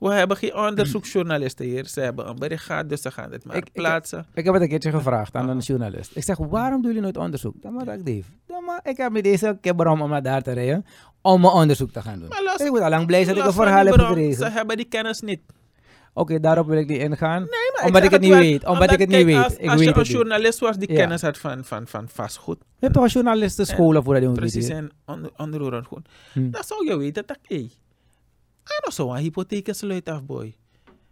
we hebben geen onderzoeksjournalisten hier. Ze hebben een bericht gehad, dus ze gaan dit maar Ik- ik- plaatsen. Ik heb het een keertje gevraagd aan een journalist. Ik zeg, waarom doen jullie nooit onderzoek? Dan maar ik Dave. Dan maar, ik heb niet deze kebram om naar daar te rijden om mijn onderzoek te gaan doen. Maar los- ik moet al lang blij zijn dat ik Los een van die verhaal heb bron, gekregen. Ze hebben die kennis niet. Oké, daarop wil ik niet ingaan. maar omdat zeg ik het niet wel, weet. Omdat ik het niet kijk, weet. Als, Ik als weet je een het niet. journalist was die Ja. Oh, kennis had van, van, van vastgoed, Je hebt toch een journalistenscholen voor dat je moet precies weten. en onder, onderroerend goed, Hm. dan zou je weten dat hey, er is zo'n hypotheek is sluit af, boy.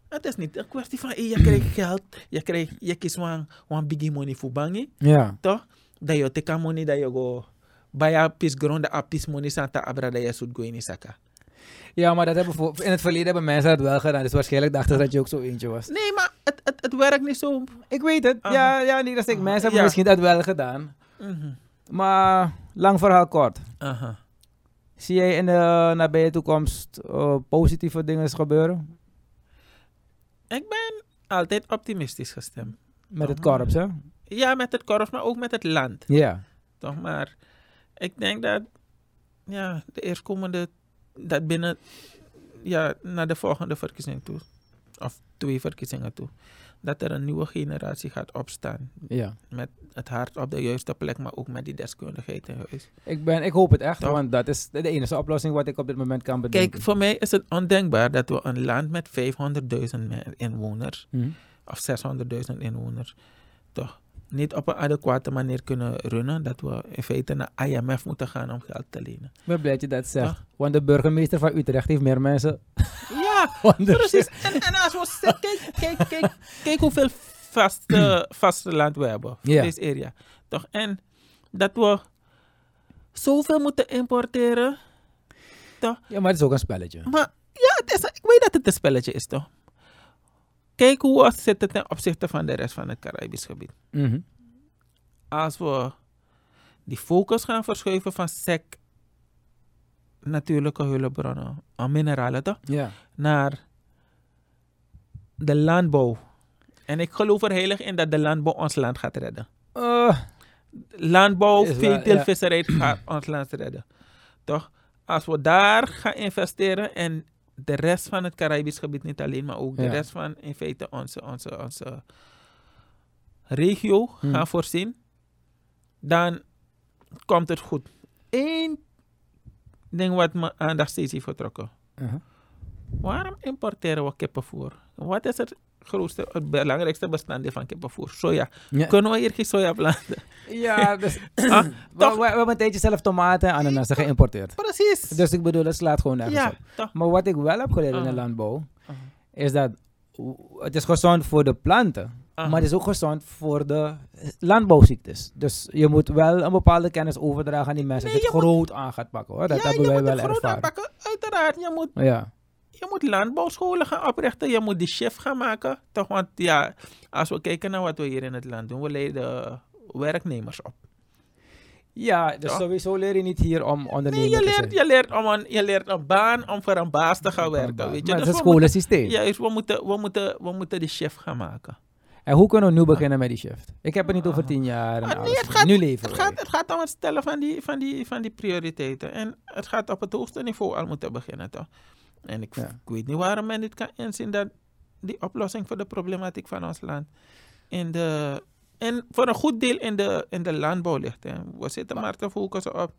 Het is niet een kwestie van hey, je krijgt geld, je, krijgt, je kiest een, een biggie money voor bangen. Ja. toch? Dat je teka money dat je go baya pis grond a pis money santa abra dat je zoet go in saka. ja, maar dat hebben voor, in het verleden hebben mensen dat wel gedaan. Dus waarschijnlijk dachten ze dat je ook zo eentje was. Nee, maar het, het, het werkt niet zo. Ik weet het. Aha. Ja, ja, niet dat ik. Mensen hebben Ja. misschien dat wel gedaan. Mhm. Maar lang verhaal kort. Aha. Zie jij in de nabije toekomst eh, positieve dingen gebeuren? Ik ben altijd optimistisch gestemd. Met het Aha. korps, hè? Ja, met het korf, maar ook met het land. Ja. Toch? Maar ik denk dat ja, de eerstkomende, dat binnen, ja, naar de volgende verkiezing toe, of twee verkiezingen toe, dat er een nieuwe generatie gaat opstaan. ja. Het hart op de juiste plek, maar ook met die deskundigheid in huis. Ik, ben, ik hoop het echt, Toch? want dat is de enige oplossing wat ik op dit moment kan bedenken. Kijk, voor mij is het ondenkbaar dat we een land met 500.000 me- inwoners Hm. of 600.000 inwoners toch niet op een adequate manier kunnen runnen. Dat we in feite naar IMF moeten gaan om geld te lenen. Ik ben blij dat je dat zegt. Toch? Want de burgemeester van Utrecht heeft meer mensen. Ja, onder precies. zich. En, en als we z- kijk, kijk, kijk, kijk hoeveel vaste, vasteland we hebben. Ja. Deze area. Toch? En dat we zoveel moeten importeren. Ja, maar het is ook een spelletje. Maar ja, het is, ik weet dat het een spelletje is toch? Kijk hoe we zitten ten opzichte van de rest van het Caribisch gebied. Mhm. Als we die focus gaan verschuiven van SEC, natuurlijke hulpbronnen en mineralen toch, Ja. naar de landbouw. En ik geloof er heilig in dat de landbouw ons land gaat redden. Eh, landbouw, Is waar, veeteelt, ja. visserij gaat ons land redden. Toch? Als we daar gaan investeren en de rest van het Caribisch gebied niet alleen, maar ook de Ja. rest van in feite onze, onze, onze regio Hmm. gaan voorzien, dan komt het goed. Eén ding wat mijn aandacht steeds heeft getrokken. aha. Waarom importeren we kippenvoer? Wat is het grootste, het belangrijkste bestanddeel van kippenvoer? Soja. Ja. Kunnen we hier geen soja planten? Ja, dus Ah, we, toch? we- we hebben een tijdje zelf tomaten en ananassen geïmporteerd. Precies. Dus ik bedoel, dat slaat gewoon nergens ja, op. toch? Maar wat ik wel heb geleerd in de Ah. landbouw, Ah. is dat w- het is gezond voor de planten, Ah. maar het is ook gezond voor de landbouwziektes. Dus je moet wel een bepaalde kennis overdragen aan die mensen. Nee, dat je je het groot aan gaat pakken hoor. Dat ja, hebben je wij moet wel het groot ervaren. aanpakken. Uiteraard, je moet, Ja. je moet landbouwscholen gaan oprichten. Je moet die shift gaan maken. Toch? Want ja, als we kijken naar wat we hier in het land doen, we leiden werknemers op. ja, dus Ja. sowieso leer je niet hier om Nee, ondernemer je te leert, zijn. je, leert om een, je leert een baan om voor een baas te gaan werken. Maar Weet je? het is Dus het we moeten, scholensysteem. juist, we moeten, we, moeten, we moeten die shift gaan maken. En hoe kunnen we nu beginnen met die shift? Ik heb het niet over tien jaar. En Maar Ah. nee, alles. het gaat, nu leven. het, wij. gaat, het gaat om het stellen van die, van, die, van die prioriteiten. En het gaat op het hoogste niveau al moeten beginnen, toch? En ik, Ja. ik weet niet waarom men dit kan inzien dat die oplossing voor de problematiek van ons land in de, en voor een goed deel in de, in de landbouw ligt. Hè. We zitten maar, te focussen op,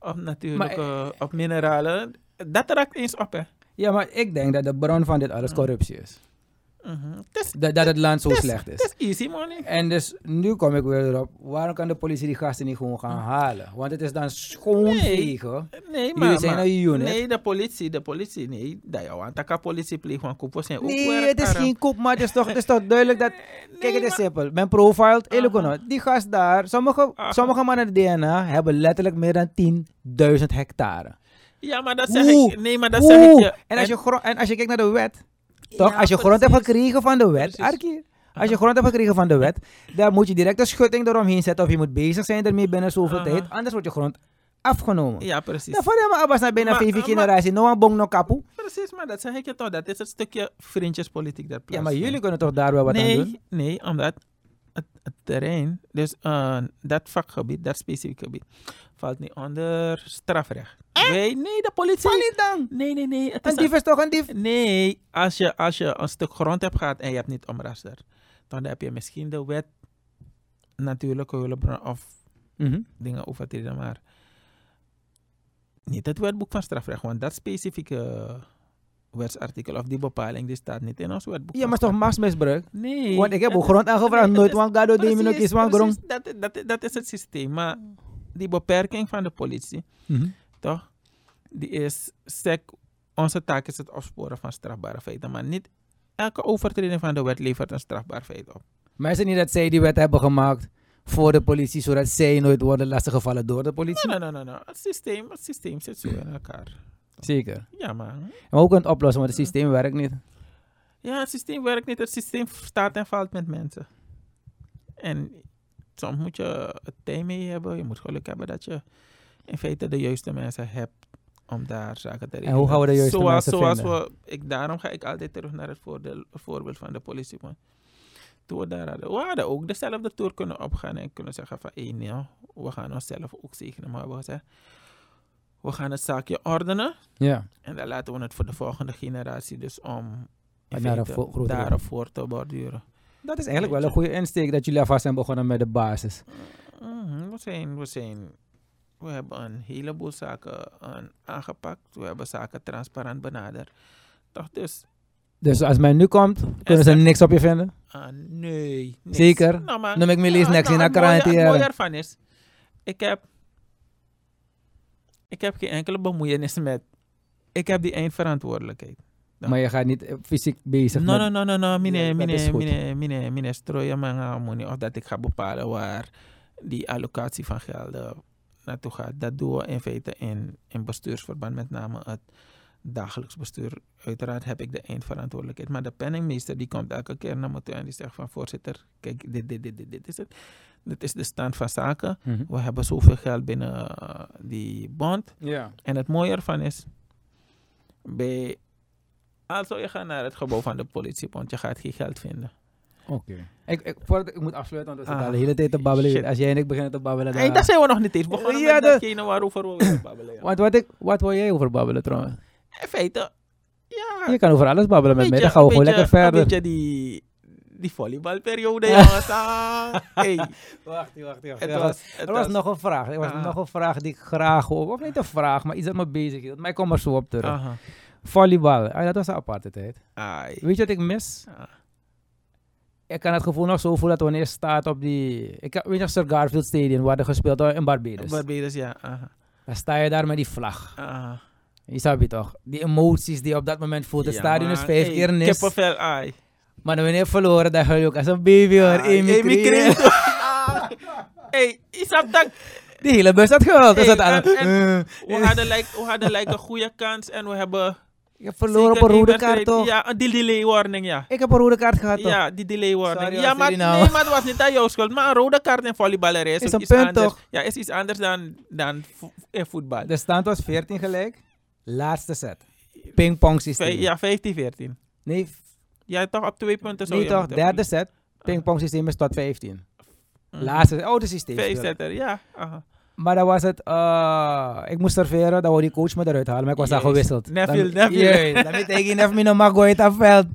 op natuurlijk, eh, op mineralen. Dat raakt eens op, hè. Ja, maar ik denk dat de bron van dit Ah. alles corruptie is. Mhm. Het is, Dat, dat het land zo het is- slecht is. Het is easy money. En dus nu kom ik weer erop, waarom kan de politie die gasten niet gewoon Ah. gaan halen? Want het is dan schoonvegen. Nee, maar, Jullie zijn maar- een unit. nee, de politie, de politie, nee. Dat jou aan taka politie pleegt, want koepels zijn ook Nee, werk, het is arm. geen koep, maar het is toch, het is toch duidelijk dat... Kijk, het is simpel. Men profilt, eerlijk of niet, die gast daar, sommige, Aha. sommige mannen in de DNA hebben letterlijk meer dan 10.000 hectare. Ja, maar dat zeg Oeh, ik. Nee, maar dat zeg ik Oeh, je. En als je, gro- en als je kijkt naar de wet, Ja, toch? als je grond hebt precies. gekregen van de wet, Precies. Arkie, als je grond hebt gekregen van de wet, dan moet je direct een schutting eromheen zetten of je moet bezig zijn ermee binnen zoveel Aha. tijd, anders wordt je grond afgenomen. Ja, precies. Dan vallen maar abas naar bijna Maar- vijf maar- generatie. No one bong no kapu. Precies, maar dat zeg ik je toch. Dat is het stukje vriendjespolitiek dat Ja, maar plaatsvindt. jullie kunnen toch daar wel wat nee, aan doen? Nee, omdat het, het terrein, dus eh, dat vakgebied, dat specifieke gebied, Valt niet onder strafrecht. Nee, nee, de politie. Politie dan! Nee, nee, nee. Het is Een dief is toch een dief? een- Nee, als je, als je een stuk grond hebt gehad en je hebt niet omraster, dan heb je misschien de wet natuurlijke hulpbron of dingen overtreden, maar niet het wetboek van strafrecht, want dat specifieke wetsartikel of die bepaling die staat niet in ons wetboek. Ja, van maar het is toch machtsmisbruik? strafrecht. Nee. Want ik heb dat ook is- grond aangevraagd, nee, nooit dat is- want gado die me nog precies, is want grond. precies, dat, dat, dat is het systeem, maar die beperking van de politie, toch? Die is sec. Onze taak is het opsporen van strafbare feiten, maar niet elke overtreding van de wet levert een strafbaar feit op. Maar is het niet dat zij die wet hebben gemaakt voor de politie, zodat zij nooit worden lastiggevallen door de politie? Nee, nee, nee, nee. Het systeem, het systeem zit zo in elkaar. Zeker. Ja, man. Maar hoe kan het oplossen, want het systeem werkt niet. Ja, het systeem werkt niet. Het systeem staat en valt met mensen. En soms moet je het tijd mee hebben. Je moet geluk hebben dat je in feite de juiste mensen hebt om daar zaken te regelen. hoe gaan we de juiste zoals, mensen zoals vinden? We, ik, daarom ga ik altijd terug naar het voordeel- voorbeeld van de politie. man. Toen we daar hadden, we hadden ook dezelfde tour kunnen opgaan en kunnen zeggen van, hé, nee, we gaan onszelf ook zegenen. Maar we hebben gezegd, we gaan het zaakje ordenen. Ja. En dan laten we het voor de volgende generatie dus om in Naar een feite vo- grotere- daarop voor te borduren. Dat is eigenlijk wel een goede insteek dat jullie alvast zijn begonnen met de basis. Mhm, we, zijn, we zijn, we hebben een heleboel zaken aan- aangepakt. We hebben zaken transparant benaderd. Toch dus, Dus als mij nu komt, kunnen ze Is dat- niks op je vinden? ah, nee. niks. Zeker? Nou, maar, Noem ik me lees niks in nou, de het mooie- krant Het mooie hier. ervan is, ik heb, ik heb geen enkele bemoeienis met, ik heb die eindverantwoordelijkheid. Ja. Maar je gaat niet eh, fysiek bezig No, met... no, no, no, no, Ja, mine, dat mine, is goed. mine, mine, mine strooien mijn eh, money of dat ik ga bepalen waar die allocatie van gelden naartoe gaat. Dat doen we in feite in, in bestuursverband, met name het dagelijks bestuur. Uiteraard heb ik de eindverantwoordelijkheid, maar de penningmeester die komt elke keer naar me toe en die zegt van voorzitter, kijk, dit, dit, dit, dit, dit is het. Dit is de stand van zaken. Mhm. We hebben zoveel geld binnen eh, die bond. Ja. En het mooie ervan is, bij, als je gaat naar het gebouw van de politie, want je gaat geen geld vinden. Oké. Ik, ik, voordat ik moet afsluiten, want we zitten Ah, al de hele tijd te babbelen. shit. Als jij en ik beginnen te babbelen, dan... Hey, daar zijn we nog niet eens begonnen Ja, met dat- datgene waarover we willen babbelen. ja. Want wat, ik, wat wil jij over babbelen trouwens? In feite, ja. Je kan over alles babbelen beetje- met mij, dan gaan we een gewoon beetje- lekker verder. Een beetje die, die volleybalperiode, jongens. Ah, hey, Wacht, wacht, wacht. het Ja, was, het er was nog een vraag. Er was Ah. nog een vraag die ik graag hoor. Of niet een vraag, maar iets dat me bezig is. Maar ik kom er zo op terug. Aha. Volleybal. Ah, dat was een aparte tijd. Ai. Weet je wat ik mis? Ah. Ik kan het gevoel nog zo voelen dat wanneer je staat op die... Ik, weet je nog Sir Garfield Stadium, waar er gespeeld wordt in dus. Barbados. Barbados, ja. Aha. dan sta je daar met die vlag. Aha. Je snapt je toch? Die emoties die je op dat moment voelt. Het Ja, stadion is man. vijf Hey, keer niks. Kippenvel, ai. Maar wanneer je verloren, dan huil je ook als een baby hoor. Ai, Amy Kreel. Kreel. Ah. Hey, Isap, dank. Die hele bus had gehuild. Dus Hey, dat aan- en- en- Eh. We hadden, like, we hadden like een goede kans en we hebben... Ik heb verloren op zeker een rode één kaart wedstrijd- toch? Ja, een delay warning, ja. Ik heb een rode kaart gehad toch? Ja, die delay warning. Sorry, ja, was maar, die nee, nou? maar het was niet aan jouw schuld. Maar een rode kaart in volleyballen is, Is ook een iets punt, anders. toch? Ja, is iets anders dan, dan vo- in voetbal. De stand was 14 gelijk. Laatste set. Pingpong systeem. Vij- ja, 15-14. Nee, Ja, toch op twee punten zo. nee toch? Derde set. Pingpong systeem is tot 15. Laatste. Laatste, oude systeem. speelde. Vijfzetter, ja. aha. Maar dan was het, eh, ik moest serveren, dan wou die coach me eruit halen, maar ik was Jezus. daar gewisseld. Neville, dan, Neville. Jezus, dan weet ik niet of me nog mag gooien op veld.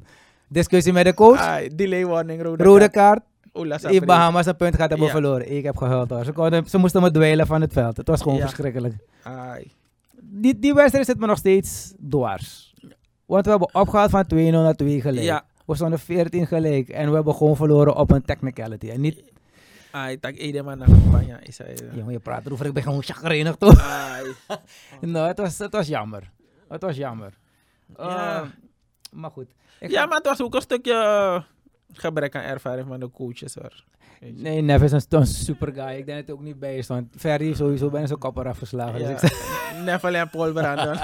Discussie met de coach, Ah, delay warning, rode, rode kaart. kaart, Ola die Sapri. Bahamas een punt gaat hebben Ja. verloren. Ik heb gehuild hoor. Ze, konden- ze moesten me dweilen van het veld, het was gewoon Ja. verschrikkelijk. Ai. Die, die wedstrijd zit me nog steeds dwars. Want we hebben opgehaald van 2-0 naar 2 gelijk. Ja, We stonden 14 gelijk en we hebben gewoon verloren op een technicality. En niet, ai, tak Edeman naar campagne, is hij. eh. jongen, je praat erover, ik ben gewoon chagrijnig toch? Ai. Nou, het was, het was jammer. Het was jammer. Ja. Eh, maar goed. Ik ja, ga- maar het was ook een stukje eh, gebrek aan ervaring van de coaches hoor. Weet je. Nee, Nev is een, een super guy. Ik denk dat hij ook niet bij is. Want Ferry heeft sowieso bijna zijn kapper afgeslagen. Dus ik zeg, Ja, Neville en Paul Brandon.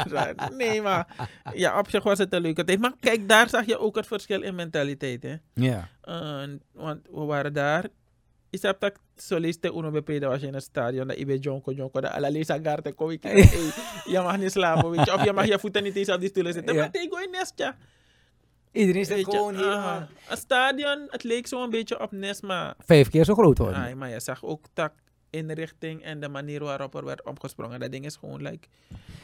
nee, maar ja, op zich was het een leuke tijd. Maar kijk, daar zag je ook het verschil in mentaliteit. Hè? ja. Eh, want we waren daar. Ik heb dat soliste Uno BP, dat was in het stadion. Dat Ibe Jonko Jonko, er dat Alalisa Garte kom ik. hey, Je mag niet slapen, weet je. Of je mag je voeten niet eens op die stoelen zitten. Ja. Maar tegen een nestje. Iedereen zit weet je. ah. gewoon Aha. helemaal... Het stadion, het leek zo'n beetje op nest, maar Vijf keer zo groot worden. Ai, maar je Ah, zag ook dat inrichting en de manier waarop er werd opgesprongen. Dat ding is gewoon like...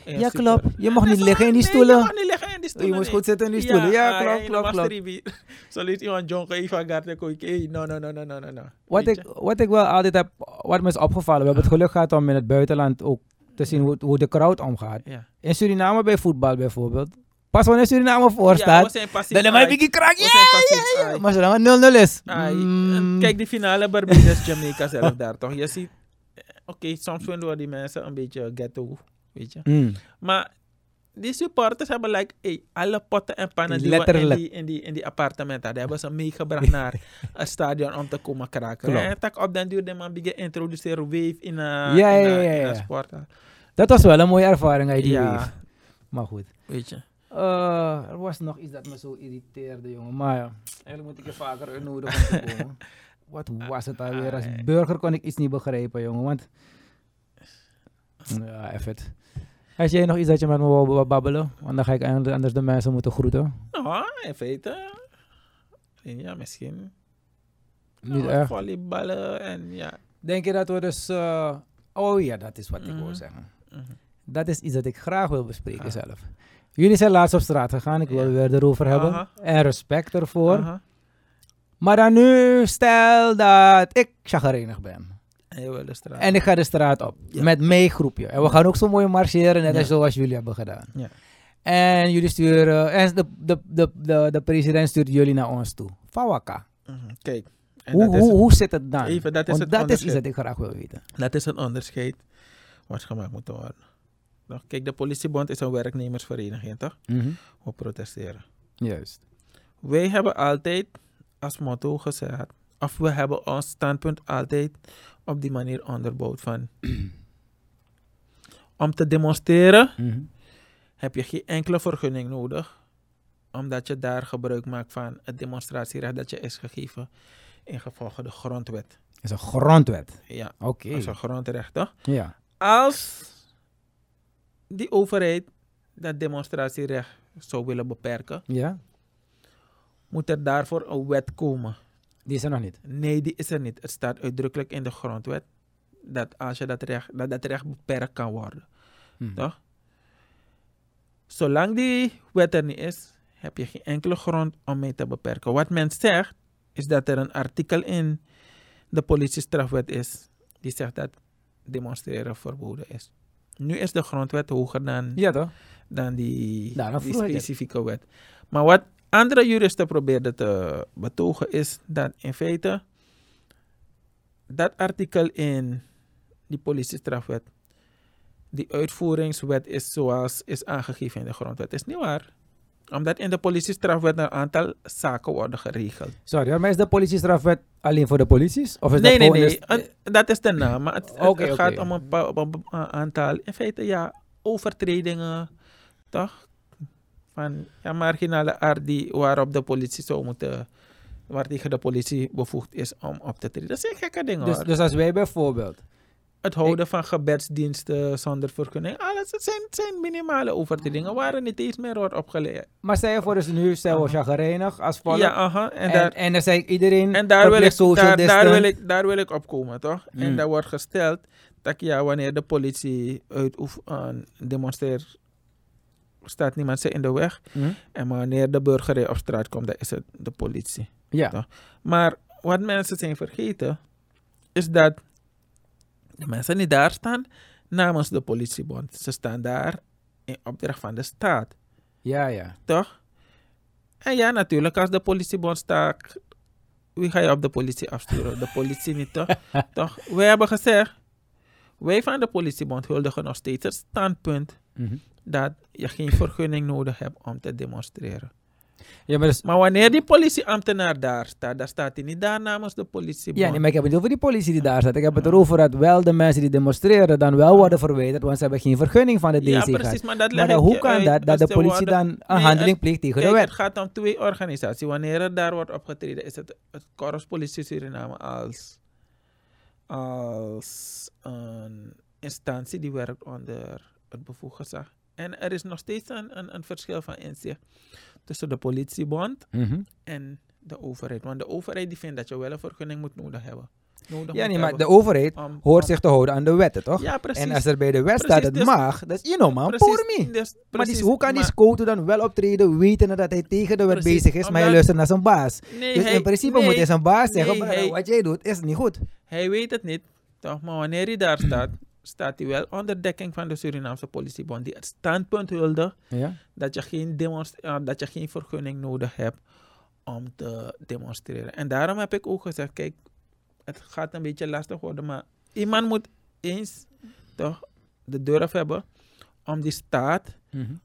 eh, ja, super. klopt. Je mag niet Zo, liggen in die nee, stoelen. Oh, Je mag niet liggen in die stoelen. Je moet nee. goed zitten in die stoelen. Ja, ah, klopt, je klopt, mag klopt. drie bier. Zo liet iemand jongen even garten koeken. Hey, no, no, no, no, no, no, no. Wat Weet ik, je? wat ik wel altijd heb, wat me is opgevallen, we hebben het geluk gehad om in het buitenland ook te zien hoe, hoe de crowd omgaat. Ja. In Suriname bij voetbal bijvoorbeeld. Pas wanneer Suriname voor Ja, we staat, zijn passief. dan heb uit. ik een krak. We Ja, zijn passief, ja, ja. ai. Maar zolang het 0-0 is. Ai, mm, en Ah, ehm, Kijk, die finale Barbados Jamaica zelf daar toch. Je ziet, eh, oké, soms vinden we die mensen een beetje ghetto, weet je. mm. Maar die supporters hebben like, hey, alle potten en pannen die we in Letterlijk. die, in, die, in die appartementen hadden, hebben ze meegebracht naar het stadion om te komen kraken. Klopt. En tak op den duur de man begint introduceren wave in een Ja, ja, in een- ja, in ja. een sport. Dat was wel een mooie ervaring uit die Ja. wave. Maar goed. Weet je. Eh, er was nog iets dat me zo irriteerde, jongen. Maar ja, eigenlijk moet ik je vaker uitnodigen om te komen. Wat was het alweer? Als burger kon ik iets niet begrijpen, jongen. Want... Ja, even. Had jij nog iets dat je met me wou wou babbelen? Want dan ga ik eigenlijk anders de mensen moeten groeten. Nou, in feite, ja, misschien. Niet Nou, echt. Volleyballen en ja. Denk je dat we dus... eh, Oh ja, dat is wat ik Mhm. wil zeggen. Mhm. Dat is iets dat ik graag wil bespreken Ah. zelf. Jullie zijn laatst op straat gegaan. Ik wil Ja. weer erover hebben. Aha. En respect ervoor. Aha. Maar dan nu, stel dat ik chagrijnig ben. En je wil de straat. En ik ga de straat op. Ja. Met mijn groepje. En we gaan ook zo mooi marcheren, net Ja. als zoals jullie hebben gedaan. Ja. En jullie sturen... En de, de, de, de, de president stuurt jullie naar ons toe. Fawaka. Mhm, Kijk. En Hoe, dat is hoe, hoe zit het dan? Even, dat is Want het dat is iets onderscheid. dat ik graag wil weten. Dat is een onderscheid wat gemaakt moet worden. Nou, kijk, de politiebond is een werknemersvereniging, toch? We protesteren. Juist. Wij hebben altijd als motto gezegd, of we hebben ons standpunt altijd op die manier onderbouwd van... om te demonstreren Mhm. heb je geen enkele vergunning nodig, omdat je daar gebruik maakt van het demonstratierecht dat je is gegeven in gevolge de grondwet. Dat is een grondwet. Ja, Oké. dat is een grondrecht, toch? Ja. als die overheid dat demonstratierecht zou willen beperken, ja. moet er daarvoor een wet komen. Die is er nog niet. Nee, die is er niet. Het staat uitdrukkelijk in de grondwet dat als je dat recht, dat, dat recht beperkt kan worden. Mhm. Toch? Zolang die wet er niet is, heb je geen enkele grond om mee te beperken. Wat men zegt, is dat er een artikel in de politiestrafwet is die zegt dat demonstreren verboden is. Nu is de grondwet hoger dan Ja toch? dan die, Ja, dan die vroeg ik het. specifieke wet. Maar wat andere juristen probeerden te betogen is dat in feite dat artikel in die politiestrafwet, die uitvoeringswet is zoals is aangegeven in de grondwet. Is niet waar. Omdat in de politiestrafwet een aantal zaken worden geregeld. Sorry, hoor, maar is de politiestrafwet alleen voor de polities? Of is nee, dat nee, gewoon dus- nee. een- Een- dat is de naam. Maar het, het- Oké, het oké. gaat om een, pa- om een bepa- aantal, in feite, ja, overtredingen, toch? Van ja, marginale aard die, waarop de politie zou moeten, waar tegen de politie bevoegd is om op te treden. Dat zijn gekke dingen Dus, hoor. dus als wij bijvoorbeeld. Het houden van gebedsdiensten zonder vergunning, alles, het zijn, het zijn minimale Ah. overtredingen waar er niet eens meer wordt opgeleid. Maar stel je voor, dus nu zijn we chagrijnig als volk. Mhm. Ja, aha, en, en, daar, en, dan zei ik iedereen. En daar wil, verplicht ik, social daar, daar, wil distance. ik, daar wil ik op komen, toch? En Mm. daar wordt gesteld dat ja, wanneer de politie uitoefent, aan demonstreert, staat niemand ze in de weg. Hm? En wanneer de burgerij op straat komt, dan is het de politie. Ja. Toch? Maar wat mensen zijn vergeten, is dat de mensen die daar staan namens de politiebond. Ze staan daar in opdracht van de staat, ja, ja. toch? En ja, natuurlijk, als de politiebond staakt, wie ga je op de politie afsturen? De politie niet, toch? toch? Wij hebben gezegd, wij van de politiebond huldigen nog steeds het standpunt Mhm. dat je geen vergunning nodig hebt om te demonstreren. Ja, maar, dus, Maar wanneer die politieambtenaar daar staat, dan staat hij niet daar namens de politie. ja nee, maar ik heb het niet over die politie die daar staat. Ik heb het erover dat wel de mensen die demonstreren dan wel worden verwijderd, want ze hebben geen vergunning van de DC. ja, gehad. precies, maar dat leg Maar dan ik hoe je kan uit. dat, dat Dus de ze politie worden- dan een Nee, handeling het- pleegt tegen de Kijk, wet? het gaat om twee organisaties. Wanneer er daar wordt opgetreden, is het het korpspolitie Suriname als, als een instantie die werkt onder het bevoegd gezag. En er is nog steeds een, een, een verschil van inzicht tussen de politiebond Mhm. en de overheid. Want de overheid die vindt dat je wel een vergunning moet nodig hebben. nodig Ja, moet nee, maar de hebben overheid om- hoort om- zich te houden aan de wetten, toch? Ja, precies. en als er bij de wet staat Precies, het dus- mag, dat is you know man, precies, voor me. dus Maar die, precies, hoe kan die maar- Scoto dan wel optreden, wetende dat hij tegen de wet Precies, bezig is, maar hij omdat- luistert naar zijn baas? Nee, dus hij, in principe nee, moet hij zijn baas zeggen, nee, "Bro, hij- wat jij doet is niet goed. Hij weet het niet, toch? Maar wanneer hij daar staat, staat hij wel onder dekking van de Surinaamse politiebond die het standpunt hulde Ja? dat je geen, demonst- eh, dat je geen vergunning nodig hebt om te demonstreren. En daarom heb ik ook gezegd, kijk, het gaat een beetje lastig worden, maar iemand moet eens toch de durf hebben om die staat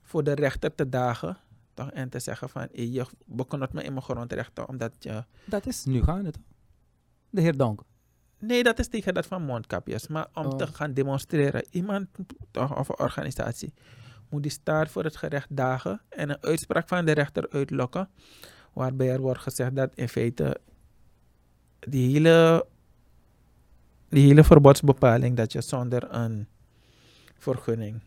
voor de rechter te dagen. Toch, en te zeggen van, hé, je beknot me in mijn grondrechten omdat je... Dat is nu gaande, toch? De heer Donk. Nee, dat is tegen dat van mondkapjes. Maar om Oh. te gaan demonstreren, iemand toch, of een organisatie moet die staat voor het gerecht dagen en een uitspraak van de rechter uitlokken. Waarbij er wordt gezegd dat in feite die hele, die hele verbodsbepaling dat je zonder een vergunning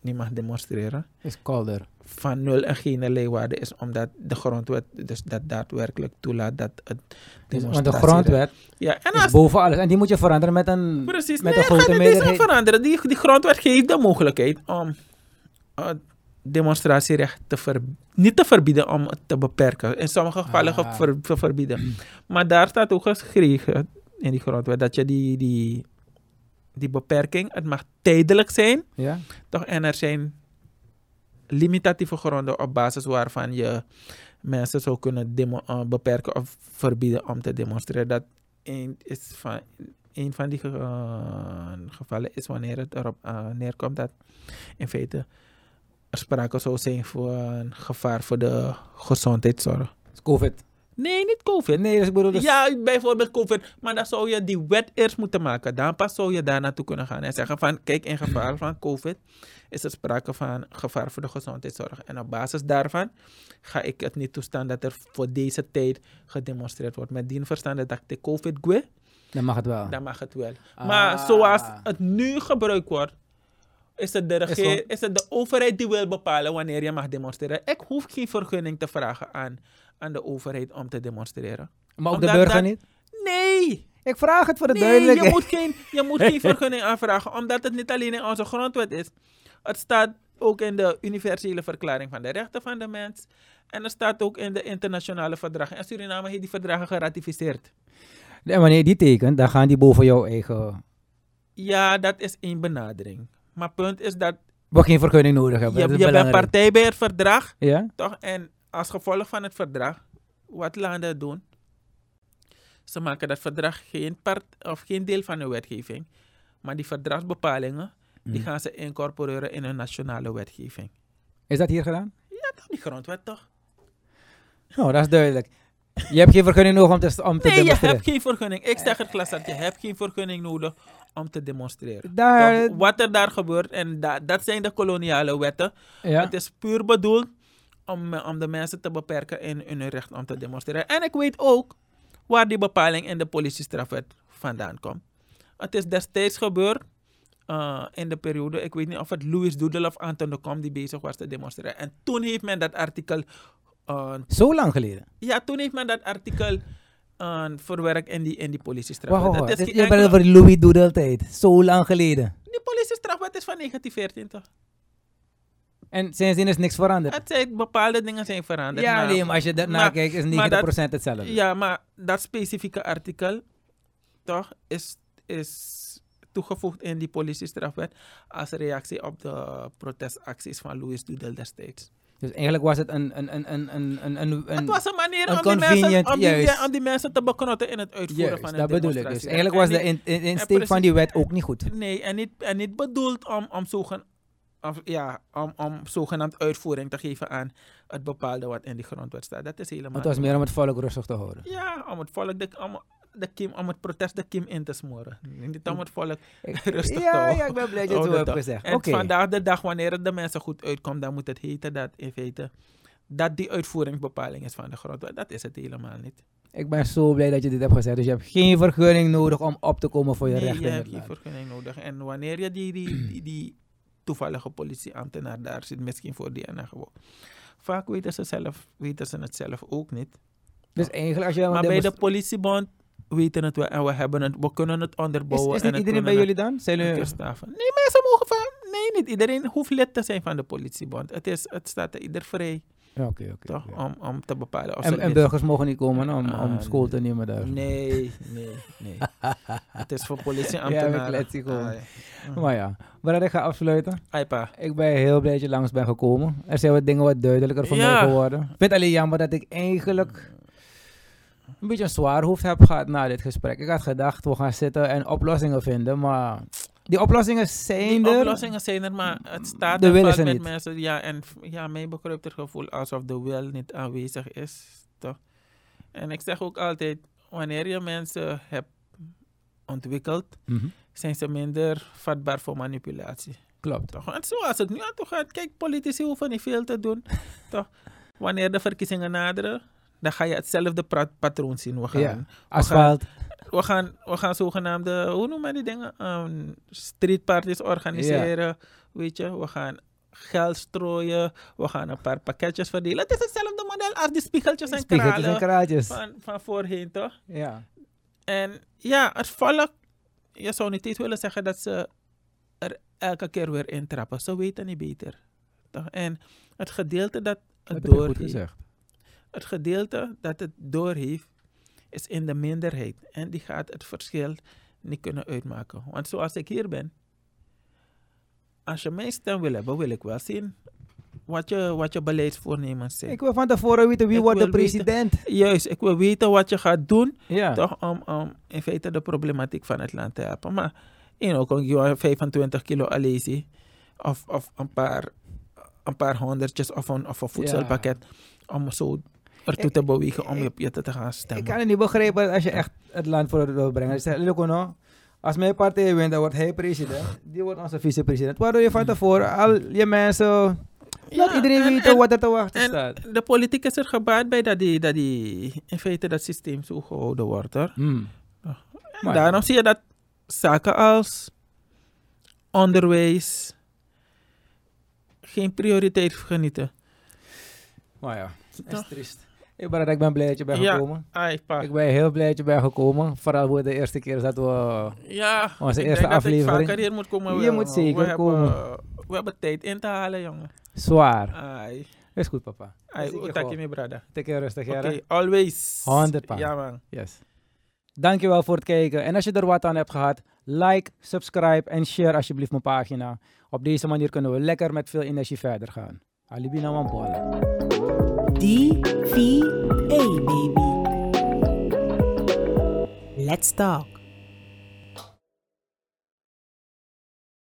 niet mag demonstreren. Is kolder. van nul en geen leeuwarde is, omdat de grondwet dus dat daadwerkelijk toelaat dat het want de demonstratie- grondwet Ja, en is als boven alles. En die moet je veranderen met een, precies, met nee, een grote gaat het niet meerderheid. veranderen. Die, die grondwet geeft de mogelijkheid om het demonstratierecht te ver- niet te verbieden, om het te beperken. In sommige gevallen Ah. ver- te verbieden. Maar daar staat ook geschreven in die grondwet dat je die, die, die beperking, het mag tijdelijk zijn, Ja? Toch, en er zijn limitatieve gronden op basis waarvan je mensen zou kunnen demo- eh, beperken of verbieden om te demonstreren. Dat een, is van, een van die ge- eh, gevallen is wanneer het erop eh, neerkomt dat in feite er sprake zou zijn voor een gevaar voor de gezondheidszorg. Is COVID. Nee, niet COVID. Nee, dus ik bedoel... Dus, Ja, bijvoorbeeld COVID. Maar dan zou je die wet eerst moeten maken. Dan pas zou je daar naartoe kunnen gaan en zeggen van... Kijk, in geval van COVID is er sprake van gevaar voor de gezondheidszorg. En op basis daarvan ga ik het niet toestaan dat er voor deze tijd gedemonstreerd wordt. Met die verstand dat ik de COVID gue, Dan mag het wel. dan mag het wel. Maar Ah. zoals het nu gebruikt wordt... Is het, de regeer- zo. is het de overheid die wil bepalen wanneer je mag demonstreren? Ik hoef geen vergunning te vragen aan, aan de overheid om te demonstreren. Maar ook de Omdat burger dat- niet? Nee! Ik vraag het voor de Nee, je duidelijkheid. moet, geen, je moet geen vergunning aanvragen, omdat het niet alleen in onze grondwet is. Het staat ook in de universele verklaring van de rechten van de mens. En het staat ook in de internationale verdragen. En Suriname heeft die verdragen geratificeerd. En wanneer je die tekent, dan gaan die boven jouw eigen... Ja, dat is één benadering. Maar punt is dat We geen vergunning nodig hebben. je, dat is je bent belangrijk. partij bij het verdrag, Ja? toch? En als gevolg van het verdrag, wat landen doen, ze maken dat verdrag geen, part, of geen deel van hun wetgeving. Maar die verdragsbepalingen, Die Mm. gaan ze incorporeren in hun nationale wetgeving. Is dat hier gedaan? Dat is die grondwet toch? Nou, dat is duidelijk. Je hebt geen vergunning nodig om te, om te Nee, je demonstreren. hebt geen vergunning. Ik zeg het glas dat je hebt geen vergunning nodig om te demonstreren. Daar, Toch, Wat er daar gebeurt, en da- dat zijn de koloniale wetten. ja. Het is puur bedoeld om, eh, om de mensen te beperken in, in hun recht om te demonstreren. En ik weet ook waar die bepaling in de politiestrafwet vandaan komt. Het is destijds gebeurd eh, in de periode, ik weet niet of het Louis Doedel of Anton de Kom die bezig was te demonstreren. En toen heeft men dat artikel, eh, Zo lang geleden. ja, toen heeft men dat artikel eh, verwerkt in die, in die Wacht, politiestrafwet. wacht, wacht. Dat is Dit- geen Je bent enkele- over die Louis Doodle tijd. Zo lang geleden. Die politiestrafwet is van 1914 toch? En sindsdien is niks veranderd. Het zijn bepaalde dingen zijn veranderd. Ja, maar- nee, maar als je daarna maar- kijkt, is 90% maar dat- hetzelfde. Ja, maar dat specifieke artikel, toch, is, is toegevoegd in die politiestrafwet als reactie op de protestacties van Louis Doedel destijds. Dus eigenlijk was het een... een, een, een, een, een, een, een- het was een manier een om die, mensen, convenient- om, die, juist. om die mensen te beknotten in het uitvoeren Juist, van een dat bedoel ik dus. demonstratie. En Eigenlijk was de niet- in- in- insteek precies- van die wet ook niet goed. Nee, en niet, en niet bedoeld om, om, zogen, of, ja, om, om zogenaamd uitvoering te geven aan het bepaalde wat in die grondwet staat. Dat is helemaal Het was niet. meer om het volk rustig te houden. Ja, om het volk de, om, de kim, om het protest de kim in te smoren. Niet om het volk Ik- rustig te ja, houden. ja, ik ben blij dat je Oh, het dat zo hebt toch. gezegd. En Oké. vandaag de dag, wanneer het de mensen goed uitkomt, dan moet het heten dat in feite dat die uitvoeringsbepaling is van de grondwet. Dat is het helemaal niet. Ik ben zo blij dat je dit hebt gezegd. Dus je hebt geen vergunning nodig om op te komen voor je Nee, rechten. je in hebt het die land. vergunning nodig. En wanneer je die, die, die, die toevallige politieambtenaar daar zit, misschien voor die en gewoon. Vaak weten ze, zelf, weten ze het zelf ook niet. Dus eigenlijk als je... Oh. Maar bij de demonst- politiebond weten het wel en we hebben het. We kunnen het Is, onderbouwen. is en niet het iedereen bij kunnen jullie dan? Zijn het jullie... kerstdagen. Nee, mensen mogen van... Nee, niet iedereen hoeft lid te zijn van de politiebond. Het, is, het staat er ieder vrij Ja, Oké, oké. toch, oké. om, om te bepalen of En, ze en lid burgers mogen niet komen om, om Ah, school te nee. nemen daar. Nee, nee, nee. het is voor Ja, we politieambtenaren. kletsen gewoon. Ah, Maar ja, waar ik ga afsluiten. ja. Aipa. Ik ben heel blij dat je langs bent gekomen. Er zijn wat dingen wat duidelijker voor Ja. mij geworden. Ik vind het alleen jammer dat ik eigenlijk een beetje een zwaar hoofd heb gehad na dit gesprek. Ik had gedacht, we gaan zitten en oplossingen vinden, maar die oplossingen zijn Die er. oplossingen zijn er, maar het staat De en wil valt is er met niet. mensen. Ja, en f- ja, mij bekruipt het gevoel alsof de wil niet aanwezig is. Toch? En ik zeg ook altijd, wanneer je mensen hebt ontwikkeld, Mhm, zijn ze minder vatbaar voor manipulatie. Klopt. Toch? En zoals het nu aan toe gaat, kijk, politici hoeven niet veel te doen. toch? Wanneer de verkiezingen naderen, dan ga je hetzelfde pra- patroon zien. We gaan, Ja. Asfalt. we, gaan, we gaan zogenaamde, hoe noemen we die dingen? Ehm, streetparties organiseren. Weet je, we gaan geld strooien. We gaan een paar pakketjes verdelen. Het is hetzelfde model als die spiegeltjes en Spiegeltjes en kralen kraaltjes. van, van voorheen, toch? Ja. En ja, het volk, je zou niet eens willen zeggen dat ze er elke keer weer intrappen. Ze weten niet beter. Toch? En het gedeelte dat het Dat heb je goed doorheeft, gezegd. het gedeelte dat het doorheeft, is in de minderheid. En die gaat het verschil niet kunnen uitmaken. Want zoals ik hier ben, als je mijn stem wil hebben, wil ik wel zien wat je, wat je beleidsvoornemens zijn. Ik wil van tevoren weten wie Ik wordt de wil weten- president. Juist, ik wil weten wat je gaat doen Ja. toch om, om in feite de problematiek van het land te helpen. Maar in ook een jongen 25 kilo alesi of, of een, paar, een paar honderdjes of een, of een voedselpakket om zo ertoe Ik- te bewegen om ik- op je te, te gaan Ik stemmen. kan het niet begrijpen dat als je echt het land voor wil brengen. Je zegt, "Look, no, als mijn partij wint, dan wordt hij president. Die wordt onze vicepresident. Waardoor je van tevoren al je mensen... laat Ja, iedereen en- weten en- wat er te wachten en- staat. De politiek is er gebaat bij dat die, dat die in feite dat systeem zo gehouden wordt. Hoor. En Maar ja. daarom zie je dat zaken als onderwijs geen prioriteit genieten. Maar ja, het is Toch? triest. Ik ben, ik ben blij dat je bent Ja. gekomen. Ai, pa. Ah, Ik ben heel blij dat je bent gekomen. Vooral voor de eerste keer dat we... Ja, Onze ik eerste denk aflevering. Dat ik vaker hier moet komen. Je wel, moet man. zeker we Hebben, we hebben tijd in te halen, jongen. Zwaar. Ai, Is goed, papa. ai, zeker utaki wel. mi brada. Take care, rustig, Oké, Jara. always. Ya, 100 pa. Ja, man. Yes. Dankjewel voor het kijken. En als je er wat aan hebt gehad, like, subscribe en share alsjeblieft mijn pagina. Op deze manier kunnen we lekker met veel energie verder gaan. Alibina Wampole. DVA, baby. Let's talk.